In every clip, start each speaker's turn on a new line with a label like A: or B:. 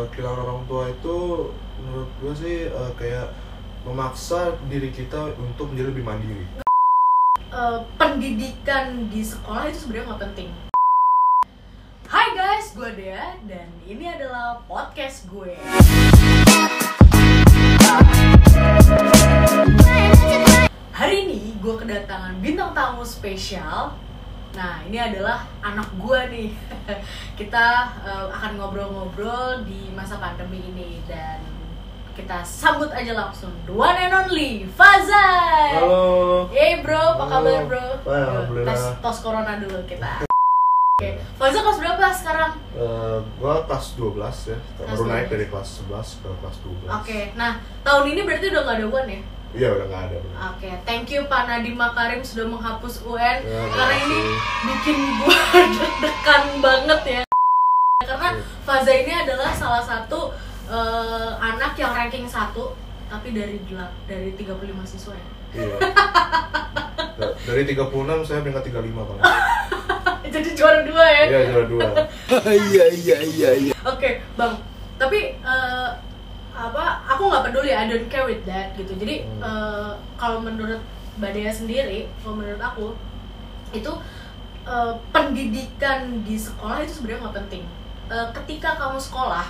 A: kehilangan orang tua itu menurut gue sih eh, kayak memaksa diri kita untuk menjadi lebih mandiri
B: eh, pendidikan di sekolah itu sebenarnya nggak penting. Hai guys, gue Dea dan ini adalah podcast gue. Hari ini gue kedatangan bintang tamu spesial. Nah, ini adalah anak gue nih. kita eh, akan ngobrol-ngobrol di masa pandemi ini dan kita sambut aja langsung the one and only Fazai.
A: halo
B: Yeay bro, apa kabar
A: Halo.
B: bro?
A: Wah,
B: Yuk,
A: alhamdulillah.
B: Tes, tos corona dulu kita Oke, Faza kelas berapa sekarang?
A: Eh, gue kelas 12 ya
B: Kelas
A: baru naik
B: 12.
A: dari kelas 11 ke kelas 12
B: Oke, nah tahun ini berarti udah nggak ada UN ya?
A: iya udah nggak ada bener.
B: Oke, thank you Pak Nadiem Makarim sudah menghapus UN
A: Ya,
B: Karena
A: makasih.
B: ini bikin gue deg-degan banget ya Karena Faza ini adalah salah satu eh, anak yang ranking 1 Tapi dari, delap- dari 35 siswa ya
A: iya Da- dari 36 saya peringkat 35 kan
B: Jadi juara dua ya?
A: iya juara dua
B: Oke, Bang. Tapi eh, apa aku nggak peduli I don't care with that gitu. Jadi
A: Hmm.
B: eh, kalau menurut Badea sendiri, kalau menurut aku itu eh, pendidikan di sekolah itu sebenarnya nggak penting. Eh, ketika kamu sekolah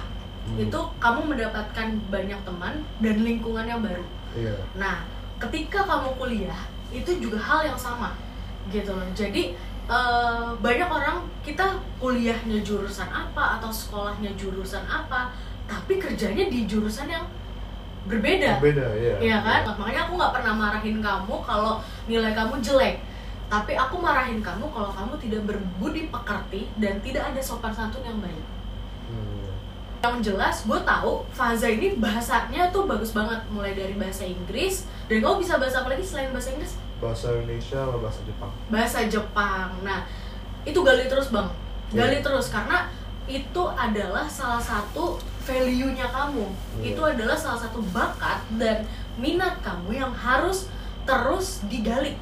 A: Hmm.
B: itu kamu mendapatkan banyak teman dan lingkungan yang baru.
A: iya
B: Nah, ketika kamu kuliah itu juga hal yang sama gitu loh. Jadi eh, banyak orang kita kuliahnya jurusan apa atau sekolahnya jurusan apa, tapi kerjanya di jurusan yang berbeda.
A: beda iya
B: Iya kan? Makanya aku nggak pernah marahin kamu kalau nilai kamu jelek. Tapi aku marahin kamu kalau kamu tidak berbudi pekerti dan tidak ada sopan santun yang baik
A: Hmm.
B: yang jelas gue tahu Faza ini bahasanya tuh bagus banget mulai dari bahasa Inggris dan kamu bisa bahasa apa lagi selain bahasa Inggris
A: bahasa Indonesia sama bahasa Jepang
B: bahasa Jepang nah itu gali terus bang gali
A: Iya.
B: terus karena itu adalah salah satu value nya kamu
A: Iya.
B: itu adalah salah satu bakat dan minat kamu yang harus terus digali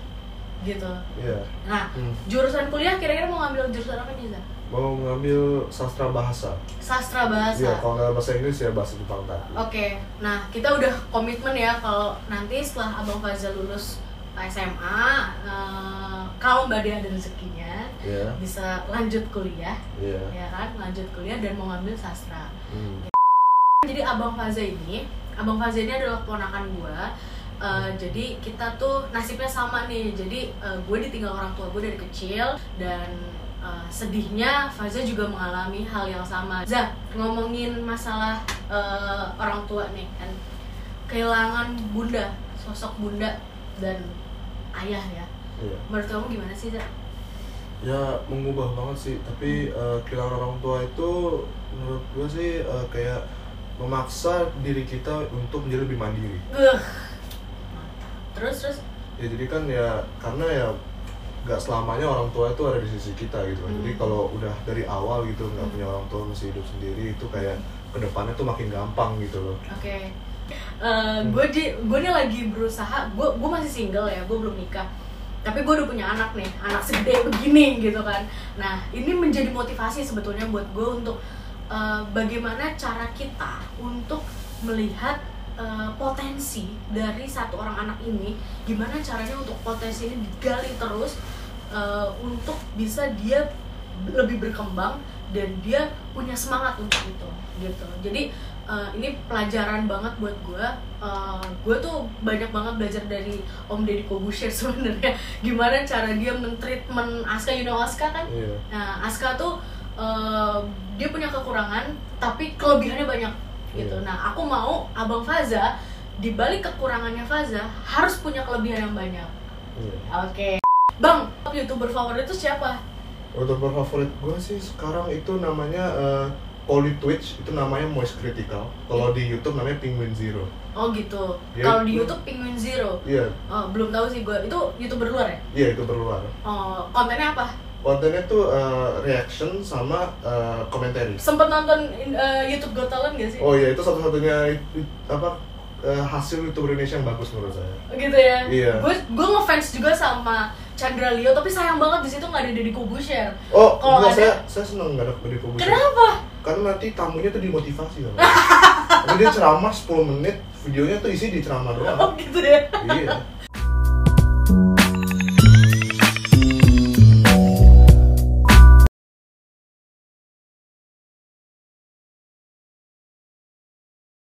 B: gitu
A: iya
B: nah
A: Hmm.
B: jurusan kuliah kira-kira mau ngambil jurusan apa nih Za?
A: mau ngambil sastra bahasa
B: sastra bahasa
A: Iya, kalau nggak bahasa Inggris ya bahasa Jepang tadi.
B: Oke, nah kita udah komitmen ya kalau nanti setelah Abang Fazal lulus SMA, eh, kalau Mbak Dea ada rezekinya
A: Iya,
B: bisa lanjut kuliah,
A: iya.
B: ya kan? Lanjut kuliah dan mau ngambil sastra.
A: Hmm.
B: Jadi Abang Fazal ini, Abang Fazal ini adalah ponakan gua. Eh, jadi kita tuh nasibnya sama nih. Jadi eh, gue ditinggal orang tua gue dari kecil dan eh, sedihnya Faza juga mengalami hal yang sama. Zah ngomongin masalah eh, orang tua nih kan kehilangan bunda, sosok bunda dan ayah ya.
A: Iya.
B: Menurut kamu gimana sih Zah?
A: Ya mengubah banget sih, tapi eh, kehilangan orang tua itu menurut gue sih eh, kayak memaksa diri kita untuk menjadi lebih mandiri.
B: Ugh. Terus terus
A: Ya jadi kan ya karena ya nggak selamanya orang tua itu ada di sisi kita gitu kan. Jadi
B: Hmm.
A: kalau udah dari awal gitu nggak
B: Hmm.
A: punya orang tua masih hidup sendiri itu kayak kedepannya tuh makin gampang gitu loh.
B: Oke. Eh, gue di gue nih lagi berusaha. Gue gue masih single ya. Gue belum nikah. Tapi gue udah punya anak nih. Anak segede begini gitu kan. Nah ini menjadi motivasi sebetulnya buat gue untuk eh, bagaimana cara kita untuk melihat eh, potensi dari satu orang anak ini. Gimana caranya untuk potensi ini digali terus eh, untuk bisa dia lebih berkembang dan dia punya semangat untuk itu gitu. Jadi Uh, ini pelajaran banget buat gue. Uh, gue tuh banyak banget belajar dari Om Deddy Kobusier sebenarnya. Gimana cara dia mentreatment Aska, you know Aska kan?
A: Iya.
B: Nah, Aska tuh eh, dia punya kekurangan tapi kelebihannya banyak gitu.
A: Iya.
B: Nah, aku mau Abang Faza di balik kekurangannya Faza harus punya kelebihan yang banyak.
A: Iya.
B: Oke. Bang, YouTuber favorit itu siapa?
A: Youtuber favorit gue sih sekarang itu namanya eh, Poli Twitch itu namanya Moist Critical. Kalau di YouTube namanya Penguin Zero.
B: Oh gitu.
A: Dia
B: Kalau di
A: itu-
B: YouTube Penguin Zero.
A: Iya,
B: Oh, belum tahu sih gue. Itu YouTuber luar ya?
A: iya itu berluar.
B: Oh, kontennya apa?
A: Kontennya tuh eh, reaction sama eh, commentary.
B: sempet nonton uh, YouTube Got Talent gak sih?
A: Oh iya itu satu-satunya i- i- apa eh, hasil YouTuber Indonesia yang bagus menurut saya.
B: Gitu ya.
A: Iya.
B: Gue gue ngefans juga sama Chandra Leo tapi sayang banget di situ nggak ada Deddy Kobusier.
A: Oh,
B: Kalau
A: enggak,
B: ada-
A: saya saya seneng nggak ada dari
B: Kenapa?
A: karena nanti tamunya tuh dimotivasi kan. Jadi dia ceramah 10 menit, videonya tuh isi di ceramah doang.
B: oh gitu ya
A: iya.